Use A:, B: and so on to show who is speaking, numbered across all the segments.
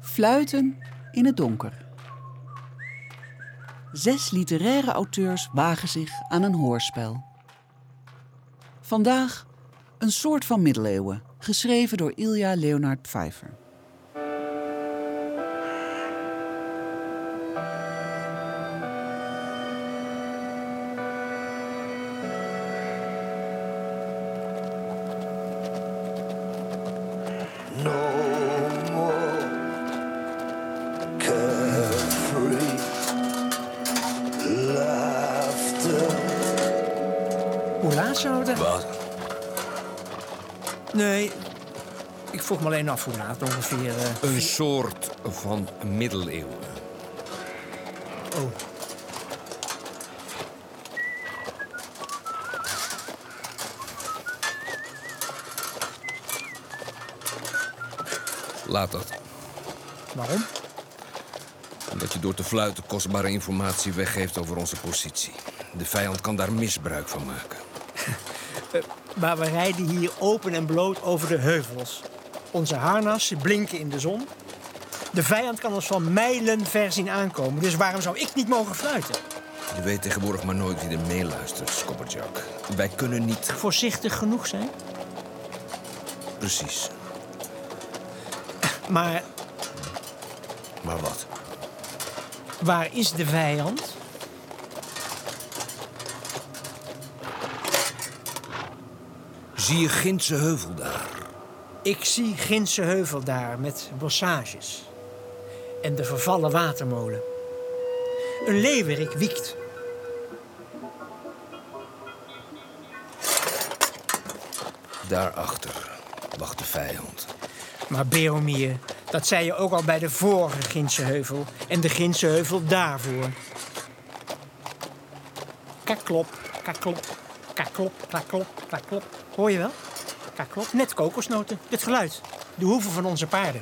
A: Fluiten in het donker. Zes literaire auteurs wagen zich aan een hoorspel. Vandaag een soort van middeleeuwen, geschreven door Ilja Leonard Pfeiffer.
B: No more carefree laughter.
C: Hoe laat zouden?
B: Wat?
C: Nee, ik vroeg me alleen af hoe laat ongeveer. eh,
D: Een soort van middeleeuwen.
C: oh.
D: Laat dat.
C: Waarom?
D: Omdat je door te fluiten kostbare informatie weggeeft over onze positie. De vijand kan daar misbruik van maken.
C: Maar we rijden hier open en bloot over de heuvels. Onze harnassen blinken in de zon. De vijand kan ons van mijlen ver zien aankomen, dus waarom zou ik niet mogen fluiten?
D: Je weet tegenwoordig maar nooit wie er meeluistert, Scopperjack. Wij kunnen niet
C: Voorzichtig genoeg zijn.
D: precies.
C: Maar
D: Maar wat?
C: waar is de vijand?
D: Zie je Gindse heuvel daar?
C: Ik zie Gindse heuvel daar met bossages. En de vervallen watermolen. Een leeuwerik wiekt.
D: Daarachter wacht de vijand.
C: Maar Beromir, dat zei je ook al bij de vorige Gindse heuvel. En de Gindse heuvel daarvoor. Kaklop, kaklop, kaklop, kaklop, kaklop. Hoor je wel? Kaklop, net kokosnoten. Dit geluid. De hoeven van onze paarden.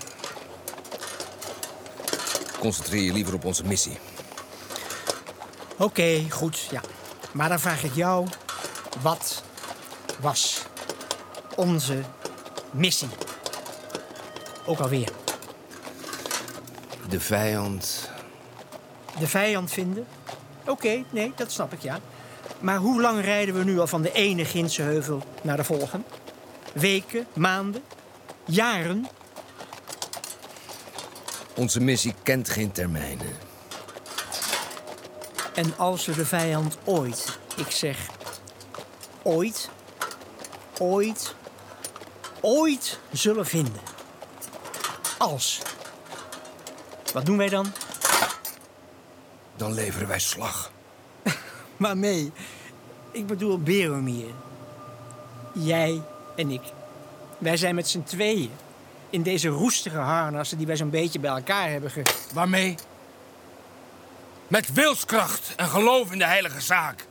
D: Concentreer je liever op onze missie.
C: Oké, goed, ja. Maar dan vraag ik jou, wat was onze missie? Ook alweer.
D: De vijand.
C: De vijand vinden? Oké, nee, dat snap ik, ja. Maar hoe lang rijden we nu al van de ene Gindse heuvel naar de volgende? Weken, maanden, jaren?
D: Onze missie kent geen termijnen.
C: En als we de vijand ooit, ik zeg ooit, ooit, ooit zullen vinden. Als. Wat doen wij dan?
D: Dan leveren wij slag.
C: Maar mee. Ik bedoel Beromir. Jij en ik. Wij zijn met z'n tweeën. In deze roestige harnassen die wij zo'n beetje bij elkaar hebben ge...
E: Waarmee? Met wilskracht en geloof in de heilige zaak.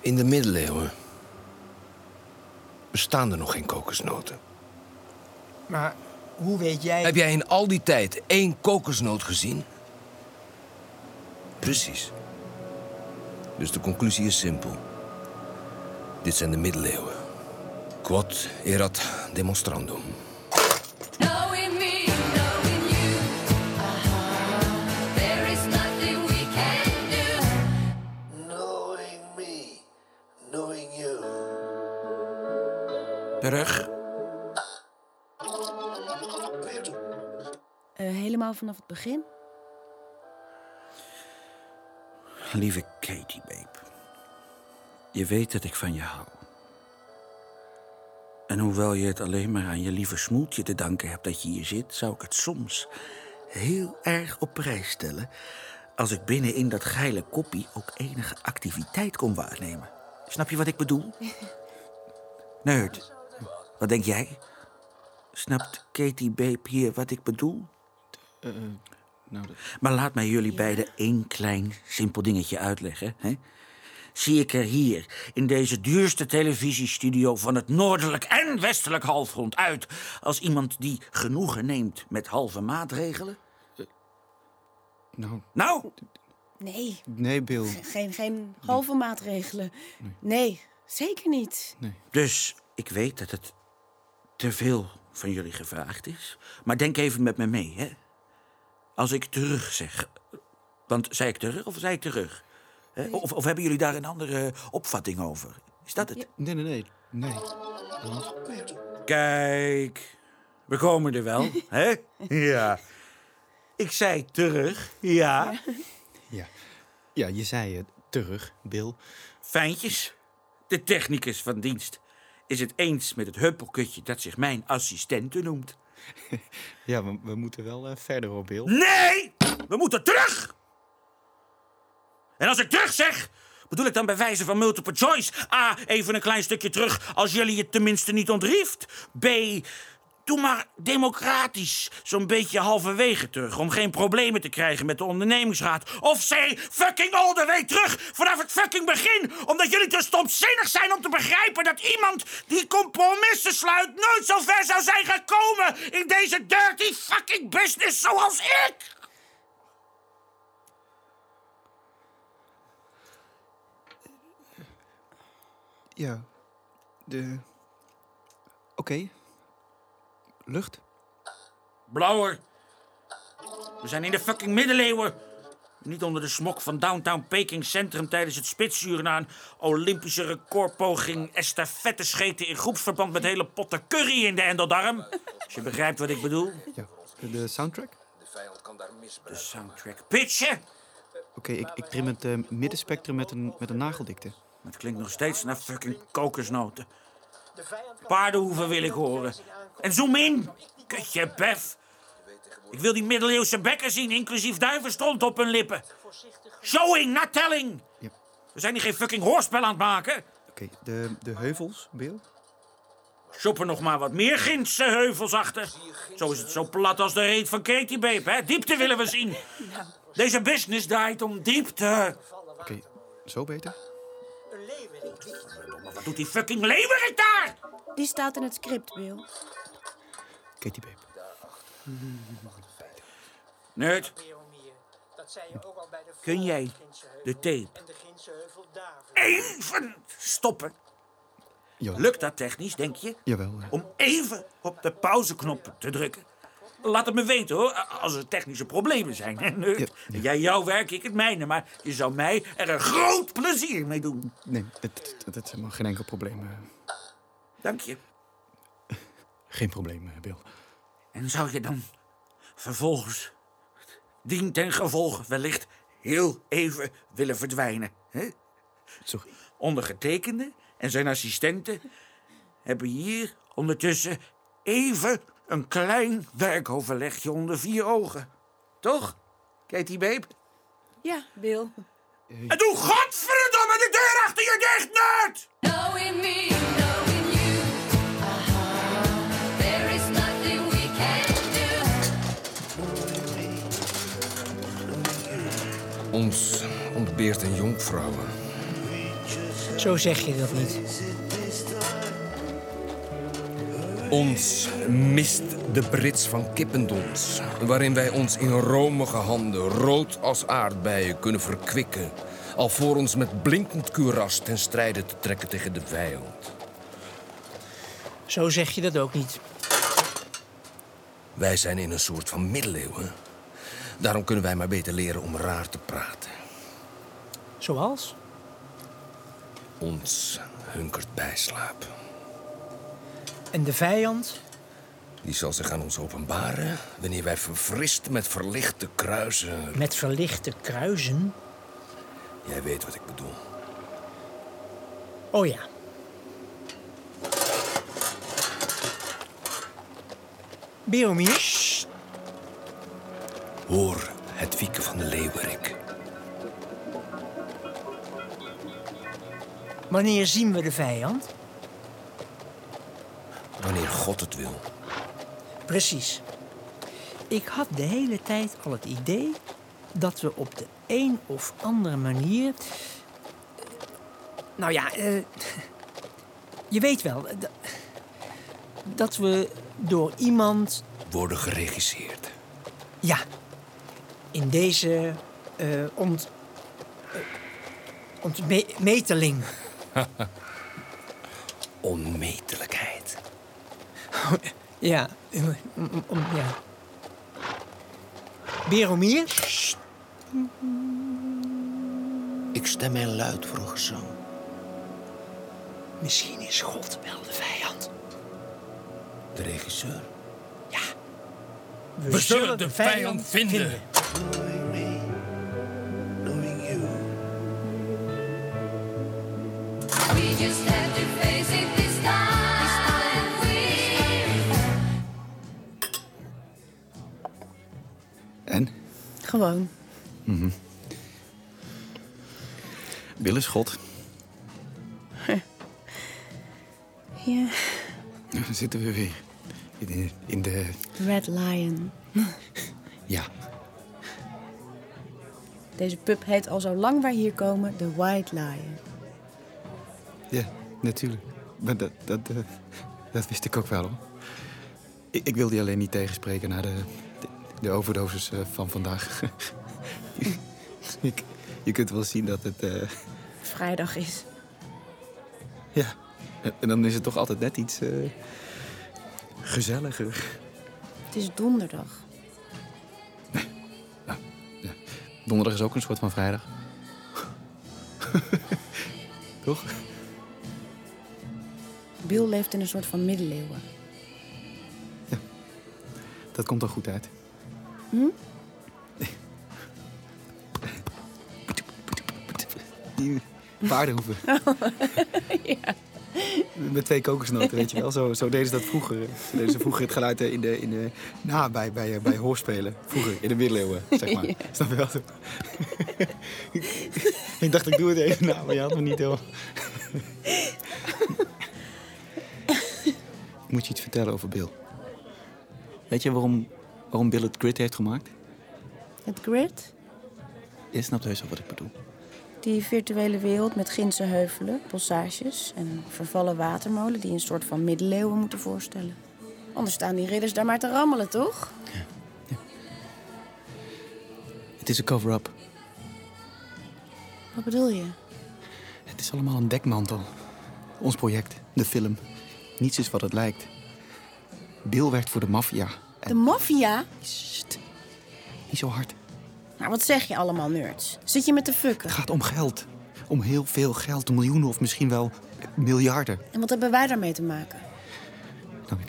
D: In de middeleeuwen bestaan er nog geen kokosnoten.
C: Maar hoe weet jij...
D: Heb jij in al die tijd één kokosnoot gezien? Precies. Dus de conclusie is simpel. Dit zijn de middeleeuwen. Quod erat demonstrandum.
F: Knowing me, knowing you, Uh-huh. there is nothing we can do.
B: Knowing me, knowing you.
D: Terug.
G: Eh, helemaal vanaf het begin?
H: Lieve Katie, babe. Je weet dat ik van je hou. En hoewel je het alleen maar aan je lieve smoeltje te danken hebt dat je hier zit, zou ik het soms heel erg op prijs stellen als ik binnenin dat geile koppie ook enige activiteit kon waarnemen. Snap je wat ik bedoel? Nerd, wat denk jij? Snapt Katie, babe, hier wat ik bedoel? Maar laat mij jullie beiden één klein, simpel dingetje uitleggen. Hè? Zie ik er hier, in deze duurste televisiestudio van het noordelijk en westelijk halfrond uit... als iemand die genoegen neemt met halve maatregelen?
I: Nou,
H: Nou,
G: Nee,
I: nee, Bill.
G: geen, geen halve maatregelen. Nee, zeker niet.
H: dus ik weet dat het te veel
J: van jullie gevraagd is. Maar denk even met me mee, hè? Als ik terug zeg. Want zei ik terug of zei ik terug? Hè? Of, of hebben jullie daar een andere opvatting over? Is dat het?
K: Nee, nee, nee. Nee.
J: Kijk, we komen er wel, hè? Ja. Ik zei terug, ja.
K: Ja. Ja, je zei het. Terug, Bill.
J: Fijntjes, de technicus van dienst, is het eens met het huppelkutje dat zich mijn assistente noemt.
K: Ja, we, we moeten wel eh, verder hoor, Bill.
J: Nee! We moeten terug! En als ik terug zeg, bedoel ik dan bij wijze van multiple choice. A, even een klein stukje terug als jullie het tenminste niet ontrieft. B, doe maar democratisch, zo'n beetje halverwege terug... om geen problemen te krijgen met de ondernemingsraad. Of C, fucking all the way terug, vanaf het fucking begin... omdat jullie te stomzinnig zijn om te begrijpen dat iemand die compromissen sluit... nooit zo ver zou zijn gekomen in deze dirty fucking business zoals ik!
K: Ja. De... Oké. Lucht?
J: Blauwer. We zijn in de fucking middeleeuwen. Niet onder de smok van downtown Peking Centrum tijdens het spitsuur na een Olympische recordpoging estafette scheten in groepsverband met hele potten curry in de endeldarm. Als je begrijpt wat ik bedoel.
K: Ja. De soundtrack?
J: De soundtrack pitchen.
K: Oké, ik, ik trim het eh, middenspectrum met een, met een nageldikte.
J: Dat klinkt nog steeds naar fucking kokosnoten. Paardenhoeven wil ik horen. En zoom in, kutje bef. Ik wil die middeleeuwse bekken zien, inclusief duivenstront op hun lippen. Showing, not telling.
K: Ja.
J: We zijn hier geen fucking hoorspel aan het maken.
K: Oké, de, de heuvels, Bill?
J: Shoppen nog maar wat meer Gindse heuvels achter. Zo is het zo plat als de reet van Katie Babe, hè? Diepte willen we zien. Deze business draait om diepte.
K: Oké, zo beter?
J: Oh, Wat doet die fucking leeuwerik daar?
G: Die staat in het script, Bill.
K: Katie Babe.
J: Nerd,
C: Dat zei je ook al bij de
J: kun jij de tape
C: de Ginse Heuvel daar.
J: even stoppen?
K: Ja,
J: Lukt dat technisch, denk je?
K: Jawel. eh.
J: Om even op de pauzeknop te drukken. Laat het me weten hoor, als er technische problemen zijn. hè, nerd?
K: Ja, ja.
J: Jij jouw werk, ik het mijne. Maar je zou mij er een groot plezier mee doen.
K: Nee, dat- dat- dat dat is helemaal geen enkel probleem. eh.
J: Dank je.
K: Geen probleem, eh, Bill.
J: En zou je dan vervolgens, dien ten gevolge, wellicht heel even willen verdwijnen? Hè?
K: Sorry.
J: Ondergetekende en zijn assistenten hebben hier ondertussen even een klein werkoverlegje onder vier ogen. Toch, Katie Beep?
G: Ja, Bill.
J: En doe godverdomme de deur achter je dicht, nerd!
F: Knowing me, knowing you. Uh-huh. There is nothing we can do.
D: Ons ontbeert een jonkvrouwen.
C: Zo zeg je dat niet.
D: Ons mist de Brits van Kippendons, waarin wij ons in romige handen, rood als aardbeien, kunnen verkwikken, alvorens met blinkend kuras ten strijde te trekken tegen de vijand.
C: Zo zeg je dat ook niet.
D: Wij zijn in een soort van middeleeuwen. Daarom kunnen wij maar beter leren om raar te praten.
C: Zoals?
D: Ons hunkert bijslaap.
C: En de vijand?
D: Die zal zich aan ons openbaren wanneer wij verfrist met verlichte kruisen.
C: Met verlichte kruisen?
D: Jij weet wat ik bedoel.
C: Oh ja. Beomiers,
D: Hoor het wieken van de leeuwerik.
C: wanneer zien we de vijand?
D: Wanneer God het wil.
C: Precies. Ik had de hele tijd al het idee dat we op de een of andere manier. eh, Nou ja, eh, je weet wel. eh, dat- Dat we door iemand
D: Worden geregisseerd.
C: Ja. In deze eh ont, eh, ontmeteling.
D: Onmetelijkheid.
C: Ja. mm, mm, mm, ja. Beromir?
B: Ik stem hen luid voor een gezang.
C: Misschien is God wel de vijand.
B: De regisseur.
C: We,
E: zullen de vijand vinden.
L: knowing me, knowing you.
F: We just have to face it this time. We
K: En?
G: Gewoon.
K: Bill is God.
G: Ja.
K: Nou, Dan zitten we weer in de... In de
G: Red Lion.
K: ja.
G: Deze pub heet al zo lang wij hier komen de White Lion.
K: Ja, natuurlijk. Maar dat, dat, eh, dat wist ik ook wel, hoor. Ik, ik wilde je alleen niet tegenspreken na de, de, de overdosis eh, van vandaag. ik, je kunt wel zien dat het... eh,
G: Vrijdag is.
K: ja, en, en dan is het toch altijd net iets eh, gezelliger.
G: Het is donderdag.
K: Donderdag is ook een soort van vrijdag. toch?
G: Bill leeft in een soort van middeleeuwen.
K: Dat komt er goed uit. Die paardenhoeven. Met twee kokosnoten, weet je wel. Zo, zo deden ze dat vroeger. Zo deden ze vroeger het geluid eh, in de, in de, na, bij, bij, eh, bij hoorspelen. Vroeger, in de middeleeuwen, zeg maar. Snap je wel? ik dacht, ik doe het even na, maar je had me niet heel... Ik moet je iets vertellen over Bill. Weet je waarom, waarom Bill het grid heeft gemaakt?
G: Het grid,
K: Je snapt heus wel wat ik bedoel.
G: die virtuele wereld met ginse heuvelen, bossages en een vervallen watermolen die een soort van middeleeuwen moeten voorstellen. Anders staan die ridders daar maar te rammelen, toch?
K: Het is een cover-up.
G: Wat bedoel je?
K: Het is allemaal een dekmantel. Ons project, de film. Niets is wat het lijkt. Bill werkt voor de maffia. En
G: De maffia?
K: Sst. niet zo hard.
G: Nou, wat zeg je allemaal, nerds? Zit je met de fukken?
K: Het gaat om geld. Om heel veel geld. Miljoenen of misschien wel miljarden.
G: En wat hebben wij daarmee te maken?
K: Nou, ik,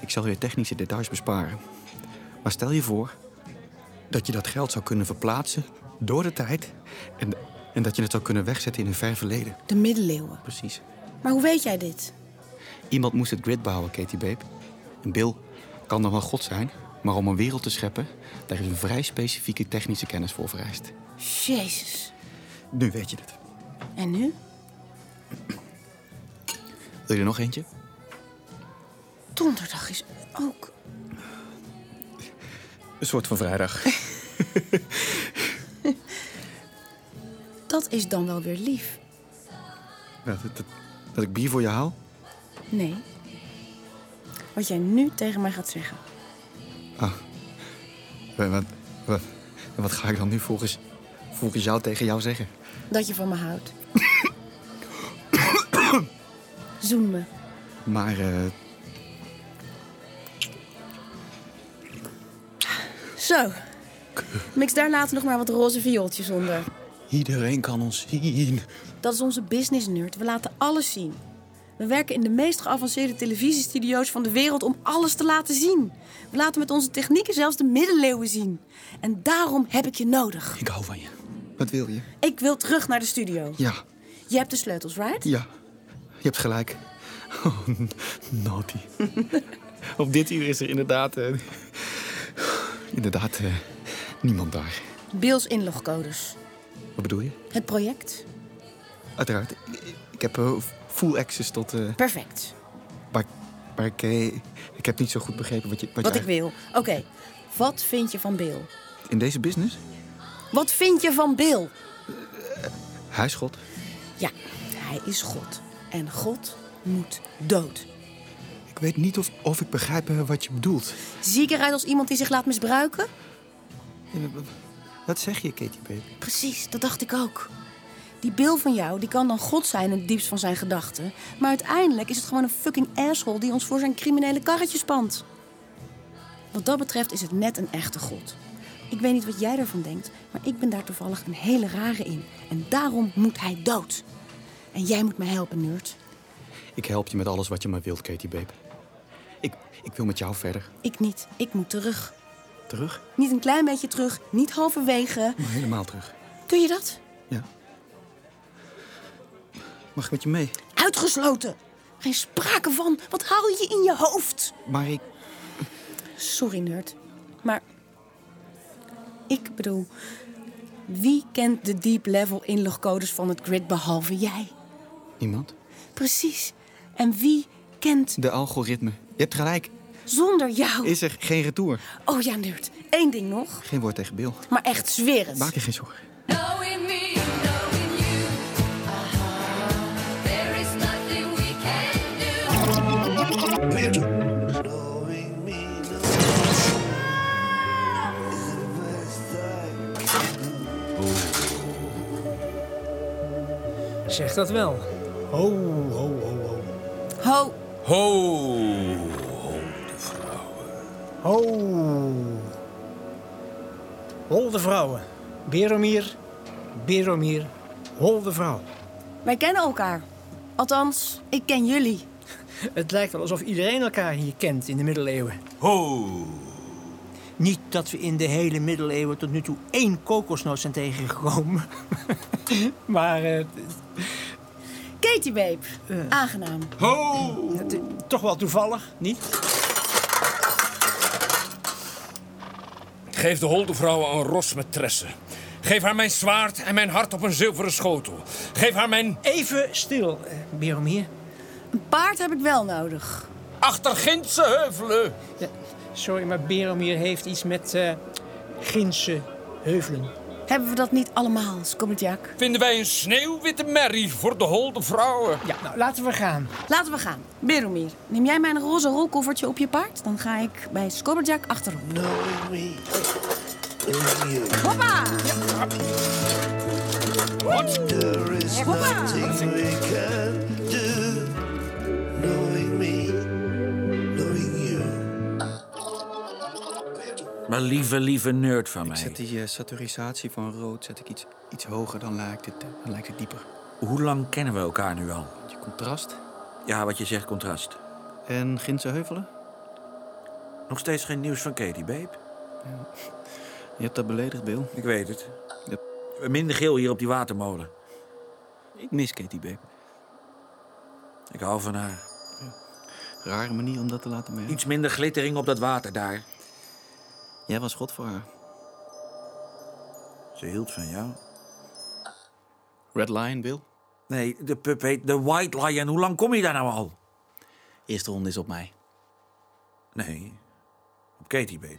K: ik zal je technische details besparen. Maar stel je voor dat je dat geld zou kunnen verplaatsen door de tijd... en, en dat je het zou kunnen wegzetten in een ver verleden.
G: De middeleeuwen.
K: Precies.
G: Maar hoe weet jij dit?
K: Iemand moest het grid bouwen, Katie Babe. En Bill kan dan wel God zijn, maar om een wereld te scheppen, daar is een vrij specifieke technische kennis voor vereist.
G: Jezus.
K: Nu weet je het.
G: En nu?
K: Wil je er nog eentje?
G: Donderdag is ook.
K: Een soort van vrijdag.
G: Dat is dan wel weer lief.
K: dat, dat, dat ik bier voor je haal?
G: Nee. Wat jij nu tegen mij gaat zeggen.
K: Wa- Wat, wat, wat ga ik dan nu volgens, volgens jou tegen jou zeggen?
G: Dat je van me houdt. Zoen me.
K: Maar eh,
G: Zo. Mix daar later nog maar wat roze viooltjes onder.
K: iedereen kan ons zien.
G: Dat is onze business nerd. We laten alles zien. We werken in de meest geavanceerde televisiestudio's van de wereld om alles te laten zien. We laten met onze technieken zelfs de middeleeuwen zien. En daarom heb ik je nodig.
K: Ik hou van je. Wat wil je?
G: Ik wil terug naar de studio.
K: Ja,
G: Je hebt de sleutels, right?
K: ja. Je hebt gelijk. Oh, n- naughty. Op dit uur is er inderdaad... eh, inderdaad, eh, niemand daar.
G: Bill's inlogcodes.
K: Wat bedoel je?
G: Het project?
K: Uiteraard. Ik, ik heb eh, full access tot... eh
G: Perfect.
K: maar maar ik, eh, ik heb niet zo goed begrepen wat je...
G: Wat
K: je
G: ik wil. Oké, wat vind je van Bill?
K: eigenlijk- In deze business?
G: Wat vind je van Bill?
K: Huisgod.
G: Ja, hij is God. En God moet dood.
K: Ik weet niet of, of ik begrijp eh, wat je bedoelt.
G: Zie ik eruit als iemand die zich laat misbruiken?
K: Eh, Wat zeg je, Katie Baby?
G: Precies, dat dacht ik ook. Die Bill van jou, die kan dan God zijn in het diepst van zijn gedachten. Maar uiteindelijk is het gewoon een fucking asshole die ons voor zijn criminele karretje spant. Wat dat betreft is het net een echte God. Ik weet niet wat jij ervan denkt, maar ik ben daar toevallig een hele rare in. En daarom moet hij dood. En jij moet me helpen, nerd.
K: Ik help je met alles wat je maar wilt, Katie Babe. Ik, ik wil met jou verder.
G: Ik niet. Ik moet terug.
K: Terug?
G: Niet een klein beetje terug, niet halverwege.
K: Maar helemaal terug.
G: Kun je dat?
K: Mag ik met je mee?
G: Uitgesloten. Geen sprake van. Wat hou je in je hoofd?
K: Maar ik...
G: Sorry, nerd. Maar ik bedoel, wie kent de deep level inlogcodes van het grid behalve jij?
K: Niemand?
G: Precies. En wie kent
K: De algoritme. Je hebt gelijk.
G: zonder jou?
K: Is er geen retour?
G: Oh ja, nerd. Eén ding nog,
K: Geen woord tegen Bill.
G: maar echt zwerend.
K: Maak je geen zorgen.
F: Knowing me, knowing you. Uh-huh. There is nothing we can
C: Zeg dat wel. Ho, ho, ho, ho.
G: Ho,
M: Ho, ho, de vrouwen.
C: Ho. Hol de Oh. vrouwen. Beromir, Beromir, hol de vrouw.
G: wij kennen elkaar. Althans, ik ken jullie.
C: Het lijkt wel alsof iedereen elkaar hier kent in de middeleeuwen.
M: Ho.
C: Niet dat we in de hele middeleeuwen tot nu toe één kokosnoot zijn tegengekomen. maar eh,
G: Katie Babe, aangenaam.
C: het is toch wel toevallig, niet?
D: Geef de holde vrouwen een ros met tressen. Geef haar mijn zwaard en mijn hart op een zilveren schotel. Geef haar mijn
C: Even stil, eh, Beromir.
G: Een paard heb ik wel nodig.
D: achtergindse heuvelen.
C: Ja, sorry, maar Beromir heeft iets met eh Ginse heuvelen.
G: Hebben we dat niet allemaal, Skommetjak?
D: Vinden wij een sneeuwwitte merrie voor de holde vrouwen.
C: Ja, nou laten we gaan.
G: Laten we gaan. Beromir, neem jij mijn roze rolkoffertje op je paard? Dan ga ik bij Skobberjack achterop.
N: knowing me, knowing you.
G: Hoppa!
N: There is nothing we can do. Knowing me, knowing you.
J: Maar lieve, lieve nerd van
K: Ik
J: mij.
K: zet die eh, saturisatie van rood zet ik iets, iets hoger, dan lijkt, het, eh, dan lijkt het dieper.
J: Hoe lang kennen we elkaar nu al?
K: Je contrast.
J: Ja, wat je zegt, contrast.
K: En Gindse heuvelen?
J: Nog steeds geen nieuws van Katie, babe?
K: Je hebt dat beledigd, Bill.
J: Ik weet het.
K: Ja.
J: Minder geel hier op die watermolen.
K: Ik mis Katie Babe.
J: Ik hou van haar.
K: Rare manier om dat te laten merken.
J: Iets minder glittering op dat water daar.
K: Jij was god voor haar.
J: Ze hield van jou.
K: Red Lion, Bill.
J: Nee, de pup heet de White Lion. Hoe lang kom je daar nou al?
K: Eerste ronde is op mij.
J: Nee, op Katie, babe.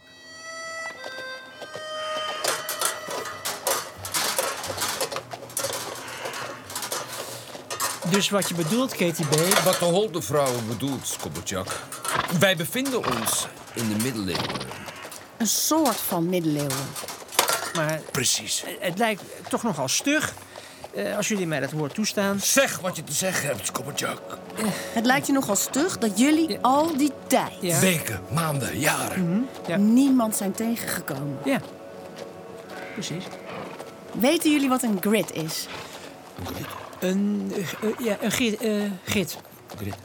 C: Dus wat je bedoelt, Katie B.
M: Wat de holde vrouwen bedoelt, Skobbertjak. Wij bevinden ons in de middeleeuwen.
G: Een soort van middeleeuwen.
C: Maar
M: Precies.
C: het lijkt toch nogal stug. eh, als jullie mij dat woord toestaan.
D: Zeg wat je te zeggen hebt, Skobbertjak.
G: Het lijkt je nogal stug dat jullie al die tijd
C: Ja.
D: Weken, maanden, jaren.
C: Ja.
G: niemand zijn tegengekomen.
C: Ja. Precies.
G: Weten jullie wat een grid is?
C: Een, eh, eh, ja, een gid. eh, gid. Grid.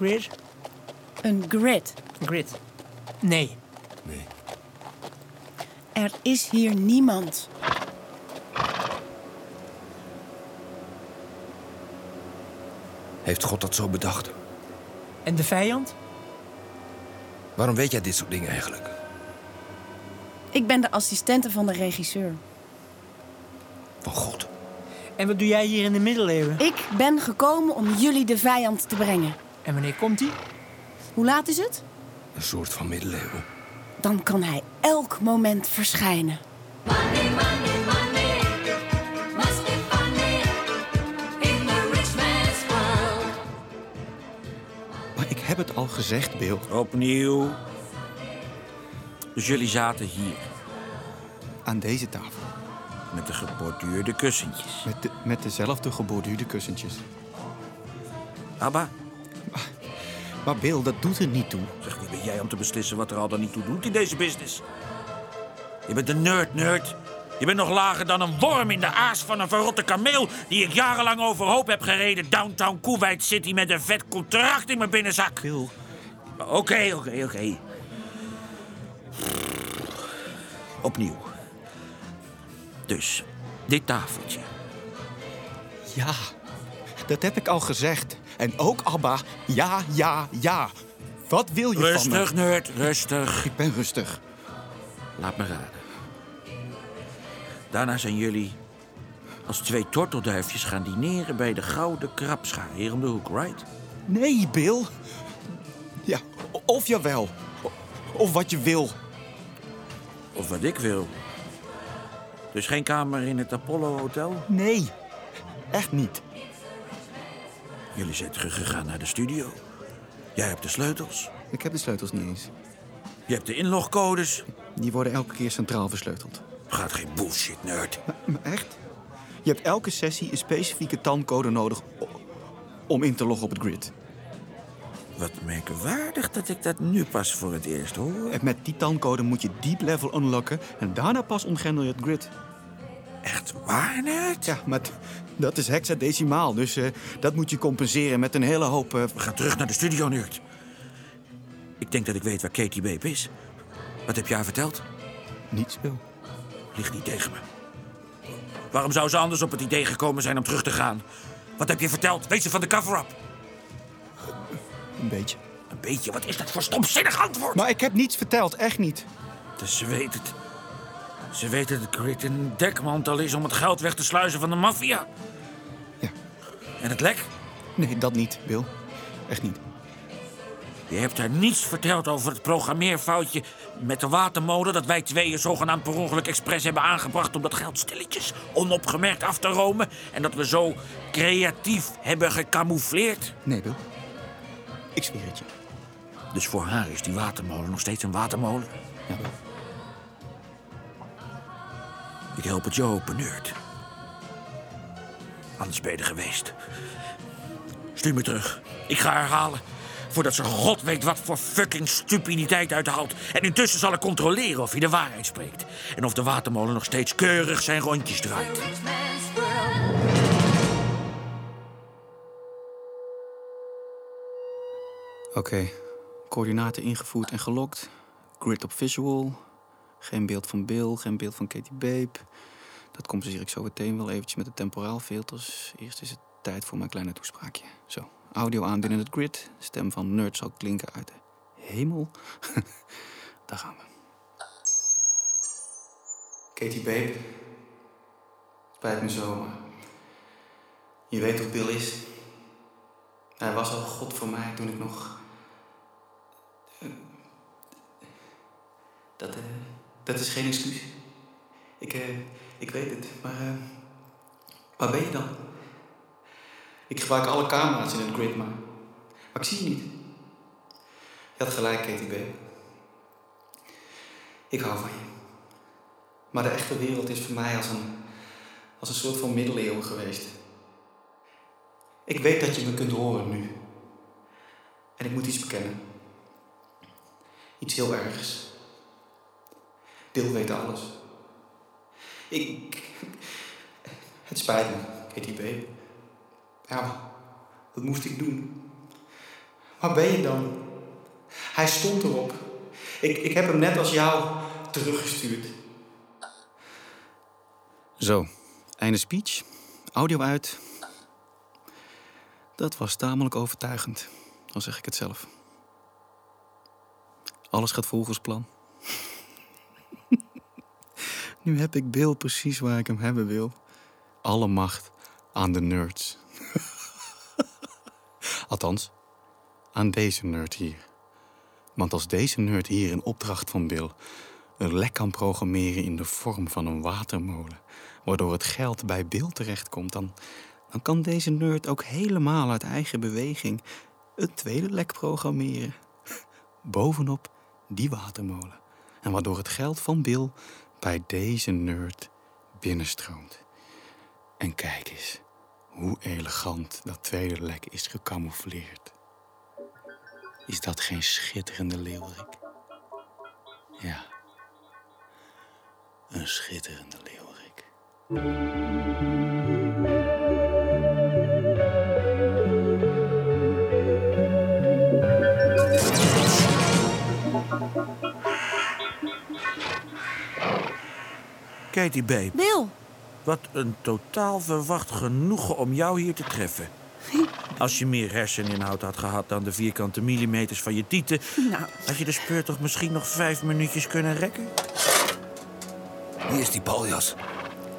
C: Grid?
G: Een grid.
C: Grid. Nee.
G: Er is hier niemand.
M: Heeft God dat zo bedacht?
C: En de vijand?
M: Waarom weet jij dit soort dingen eigenlijk?
G: Ik ben de assistente van de regisseur.
M: Van God.
C: En wat doe jij hier in de middeleeuwen?
G: Ik ben gekomen om jullie de vijand te brengen.
C: En wanneer komt die?
G: Hoe laat is het?
M: Een soort van middeleeuwen.
G: Dan kan hij elk moment verschijnen.
F: Money, money, money. Must be funny in the rich man's world.
K: Maar ik heb het al gezegd, Bill.
J: Opnieuw. Dus jullie zaten hier.
K: Aan deze tafel.
D: Met de geborduurde kussentjes.
K: Met, de, met dezelfde geborduurde kussentjes.
D: Abba,
K: Maar Bill, dat doet er niet toe.
D: zeg, wie ben jij om te beslissen wat er al dan niet toe doet in deze business? Je bent een nerd, nerd. Je bent nog lager dan een worm in de aas van een verrotte kameel... die ik jarenlang overhoop heb gereden downtown Kuwait City... met een vet contract in mijn binnenzak.
K: Bill,
D: Oké, oké, oké. Opnieuw. Dus, dit tafeltje.
K: ja. Dat heb ik al gezegd. En ook Abba, ja, ja, ja. Wat wil je van me?
D: Rustig, nerd, rustig.
K: Ik ben rustig.
D: Laat me raden. Daarna zijn jullie als twee tortelduifjes gaan dineren bij de Gouden Krabschaar hier om de hoek, right?
K: Nee, Bill. Ja, o- of jawel. O- Of wat je wil.
D: Of wat ik wil. Dus geen kamer in het Apollo Hotel?
K: Nee, echt niet.
D: Jullie zijn teruggegaan naar de studio. Jij hebt de sleutels.
K: Ik heb de sleutels niet eens.
D: Je hebt de inlogcodes.
K: Die worden elke keer centraal versleuteld.
D: Gaat geen bullshit, nerd.
K: Maar echt? Je hebt elke sessie een specifieke TAN-code nodig o- om in te loggen op het grid.
D: Wat merkwaardig dat ik dat nu pas voor het eerst hoor.
K: En met die TAN-code moet je deep level unlocken en daarna pas ontgrendel je het grid.
D: Echt waar, nerd?
K: Ja, maar t- dat is hexadecimaal, dus eh, dat moet je compenseren met een hele hoop... eh,
D: We gaan terug naar de studio, nerd. Ik denk dat ik weet waar Katie Babe is. Wat heb je haar verteld?
K: niets, Bill.
D: Ligt niet tegen me. Waarom zou ze anders op het idee gekomen zijn om terug te gaan? Wat heb je verteld? Weet ze van de cover-up?
K: Een beetje.
D: Een beetje, wat is dat voor stomzinnig antwoord?
K: Maar ik heb niets verteld, echt niet.
D: Dus ze weet het. Ze weet dat Grit een dekmantel is om het geld weg te sluizen van de maffia.
K: Ja.
D: En het lek?
K: Nee, dat niet, Bill. Echt niet.
D: Je hebt haar niets verteld over het programmeerfoutje met de watermolen... dat wij tweeën zogenaamd per ongeluk expres hebben aangebracht... om dat geld stilletjes onopgemerkt af te romen... en dat we zo creatief hebben gecamoufleerd.
K: Nee, Bill. Ik zweer het je.
D: Dus voor haar is die watermolen nog steeds een watermolen?
K: Ja, Bill.
D: Ik help het je open, nerd. Anders ben je er geweest. Stuur me terug. Ik ga herhalen. Voordat ze god weet wat voor fucking stupiditeit uithaalt. En intussen zal ik controleren of je de waarheid spreekt. En of de watermolen nog steeds keurig zijn rondjes draait.
F: rich man's world.
K: Oké, coördinaten ingevoerd en gelokt. Grid op visual. Geen beeld van Bill, geen beeld van Katie Babe. Dat compenseer ik zo meteen wel eventjes met de temporaalfilters. Eerst is het tijd voor mijn kleine toespraakje. Zo, audio aan binnen het grid. Stem van nerd zal klinken uit de hemel. Daar gaan we. Katie Babe. Spijt me zo, maar... Je weet hoe Bill is. Hij was al God voor mij toen ik nog. Dat, eh, dat is geen excuus. Ik, eh, ik weet het, maar. eh, waar ben je dan? Ik gebruik alle camera's in het grid, maar. Maar ik zie je niet. Je had gelijk, KTB. Ik hou van je. Maar de echte wereld is voor mij als een. als een soort van middeleeuwen geweest. Ik weet dat je me kunt horen nu. En ik moet iets bekennen. Iets heel ergs. Deel weet alles. Ik. Het spijt me, KTB. Ja, maar wat moest ik doen? Waar ben je dan? Hij stond erop. Ik, ik heb hem net als jou teruggestuurd. Zo, einde speech. Audio uit. Dat was tamelijk overtuigend, al zeg ik het zelf. Alles gaat volgens plan. nu heb ik Bill precies waar ik hem hebben wil. Alle macht aan de nerds. Althans, aan deze nerd hier. Want als deze nerd hier in opdracht van Bill een lek kan programmeren in de vorm van een watermolen, waardoor het geld bij Bill terechtkomt, dan, dan kan deze nerd ook helemaal uit eigen beweging een tweede lek programmeren. Bovenop die watermolen. En waardoor het geld van Bill bij deze nerd binnenstroomt. En kijk eens hoe elegant dat tweede lek is gecamoufleerd. Is dat geen schitterende leeuwerik? Ja, een schitterende leeuwerik.
D: Kijk die babe.
G: Bill,
D: Wat een totaal verwacht genoegen om jou hier te treffen. Als je meer herseninhoud had gehad dan de vierkante millimeters van je tieten...
G: nou,
D: had je de speur toch misschien nog vijf minuutjes kunnen rekken?
B: Wie is die paljas?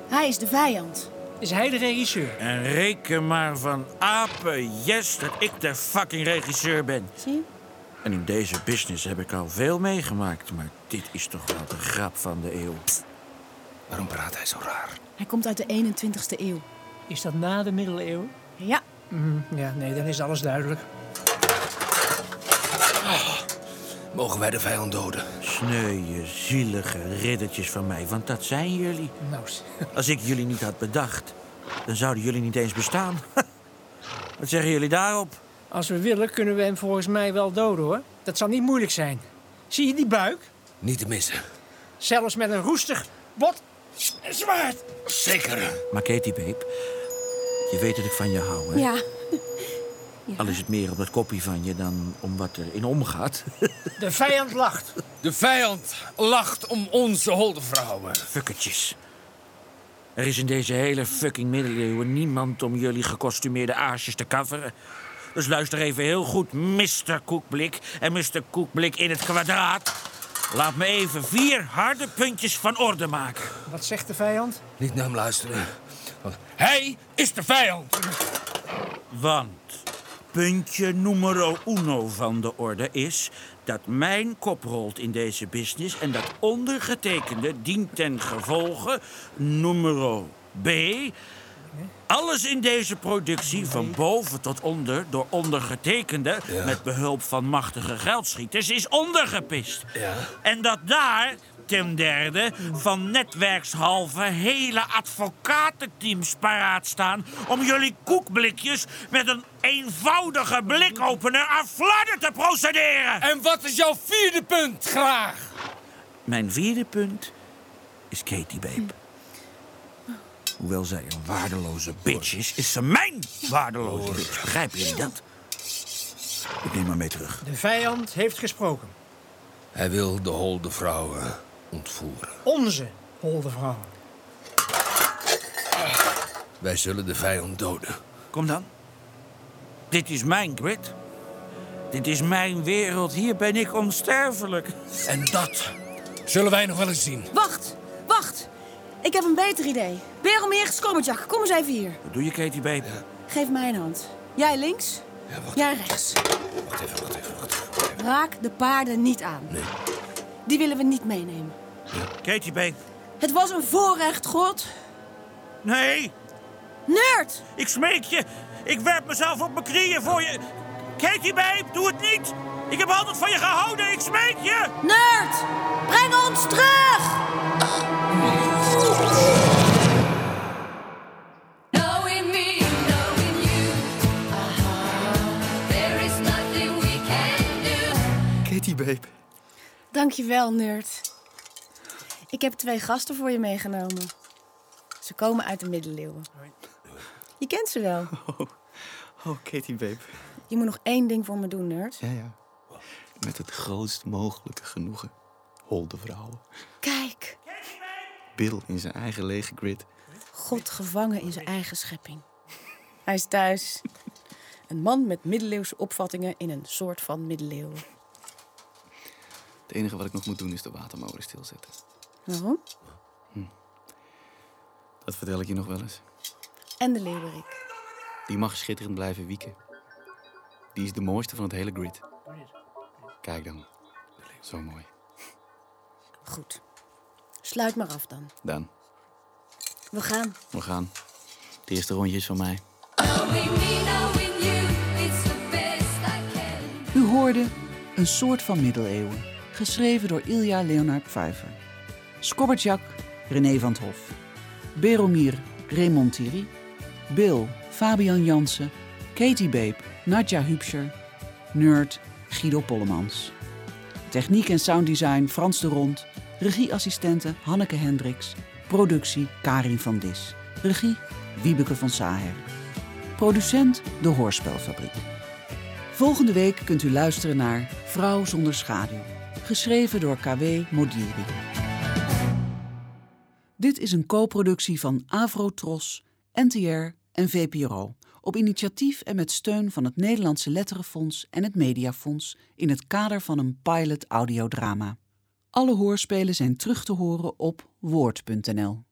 G: hij is de vijand.
C: Is hij de regisseur?
D: En reken maar van apen, yes, dat ik de fucking regisseur ben.
G: Zie je?
D: En in deze business heb ik al veel meegemaakt... maar dit is toch wel de grap van de eeuw.
B: Waarom praat hij zo raar?
G: Hij komt uit de 21ste eeuw.
C: Is dat na de middeleeuwen?
G: Ja,
C: Ja, nee, dan is alles duidelijk.
B: Mogen wij de vijand doden?
D: Sneuwe, zielige riddertjes van mij, want dat zijn jullie.
C: Nou, s-
D: Als ik jullie niet had bedacht, dan zouden jullie niet eens bestaan. Wat zeggen jullie daarop?
C: als we willen kunnen we hem volgens mij wel doden hoor. Dat zal niet moeilijk zijn. Zie je die buik?
B: Niet te missen.
C: Zelfs met een roestig bot en zwaard.
B: Zeker.
D: Maar Katie, babe, je weet dat ik van je hou, hè?
G: ja.
D: Al is het meer om dat kopje van je dan om wat er in omgaat.
C: De vijand lacht.
E: De vijand lacht om onze holde vrouwen.
D: Fuckertjes. Er is in deze hele fucking middeleeuwen niemand om jullie gekostumeerde aarsjes te coveren. Dus luister even heel goed, Mr. Koekblik en Mr. Koekblik in het kwadraat. Laat me even vier harde puntjes van orde maken.
C: Wat zegt de vijand?
B: Niet naar hem luisteren. Want
E: Hij is de vijand.
D: Want puntje numero uno van de orde is dat mijn kop rolt in deze business en dat ondergetekende dient ten gevolge numero B. Alles in deze productie, van boven tot onder, door ondergetekende, met behulp van machtige geldschieters, is ondergepist. En dat daar, ten derde, van netwerkshalve hele advocatenteams paraat staan om jullie koekblikjes met een eenvoudige blikopener aan fladder te procederen.
E: En wat is jouw vierde punt graag?
D: Mijn vierde punt is Katie Babe.
E: Hm.
D: Hoewel zij een waardeloze bitch is, is ze mijn waardeloze bitch. Begrijpen jullie dat? Ik neem haar mee terug.
C: De vijand heeft gesproken.
B: hij wil de holde vrouwen ontvoeren.
C: Onze holde vrouwen.
B: Wij zullen de vijand doden.
D: Kom dan. Dit is mijn grid. Dit is mijn wereld. Hier ben ik onsterfelijk.
E: En dat zullen wij nog wel eens zien.
G: Wacht, wacht. Ik heb een beter idee. Beromir Skommertjak, kom eens even hier.
D: Wat doe je, Katie Babe?
G: Geef mij een hand. Jij links, jij rechts.
B: Wacht even, wacht even, wacht even.
G: Raak de paarden niet aan. Die willen we niet meenemen.
D: Katie Babe.
G: Het was een voorrecht, God.
D: Nee,
G: Nerd!
D: ik smeek je. Ik werp mezelf op mijn knieën voor je. Katie Babe, doe het niet. Ik heb altijd van je gehouden. Ik smeek je.
G: Nerd! Breng ons terug!
F: Knowing me, knowing you, Uh-huh. there is nothing we can do.
K: Katie, babe.
G: Dankjewel, nerd. Ik heb twee gasten voor je meegenomen. Ze komen uit de middeleeuwen. Je kent ze wel.
K: Oh, Katie, babe.
G: Je moet nog één ding voor me doen, nerd.
K: Ja, ja. Met het grootst mogelijke genoegen. Holde vrouwen.
G: Kijk,
K: Bill in zijn eigen lege grid.
G: God gevangen in zijn eigen schepping. Hij is thuis. Een man met middeleeuwse opvattingen in een soort van middeleeuwen.
K: Het enige wat ik nog moet doen is de watermolen stilzetten.
G: Waarom?
K: Dat vertel ik je nog wel eens.
G: En de leeuwerik.
K: Die mag schitterend blijven wieken. Die is de mooiste van het hele grid. Kijk dan. Zo mooi.
G: Goed. Sluit maar af dan.
K: Dan,
G: We gaan.
K: we gaan. Het eerste rondje is van mij.
F: Knowing me, knowing you, it's the best I can do.
H: U hoorde Een soort van middeleeuwen, geschreven door Ilja Leonard Pfeiffer. Skobbertjak, René van 't Hof. Beromir Raymond Thierry, Bill Fabian Jansen, Katie Beep, Nadja Hübscher, Nerd Guido Pollemans. Techniek en sounddesign Frans de Rond, regieassistenten Hanneke Hendricks, productie Karin van Dis, regie Wiebeke van Saher. Producent De Hoorspelfabriek. Volgende week kunt u luisteren naar Vrouw zonder schaduw, geschreven door KW Modiri. Dit is een co-productie van Avrotros, NTR en VPRO. Op initiatief en met steun van het Nederlandse Letterenfonds en het Mediafonds in het kader van een pilot audiodrama. Alle hoorspelen zijn terug te horen op woord.nl.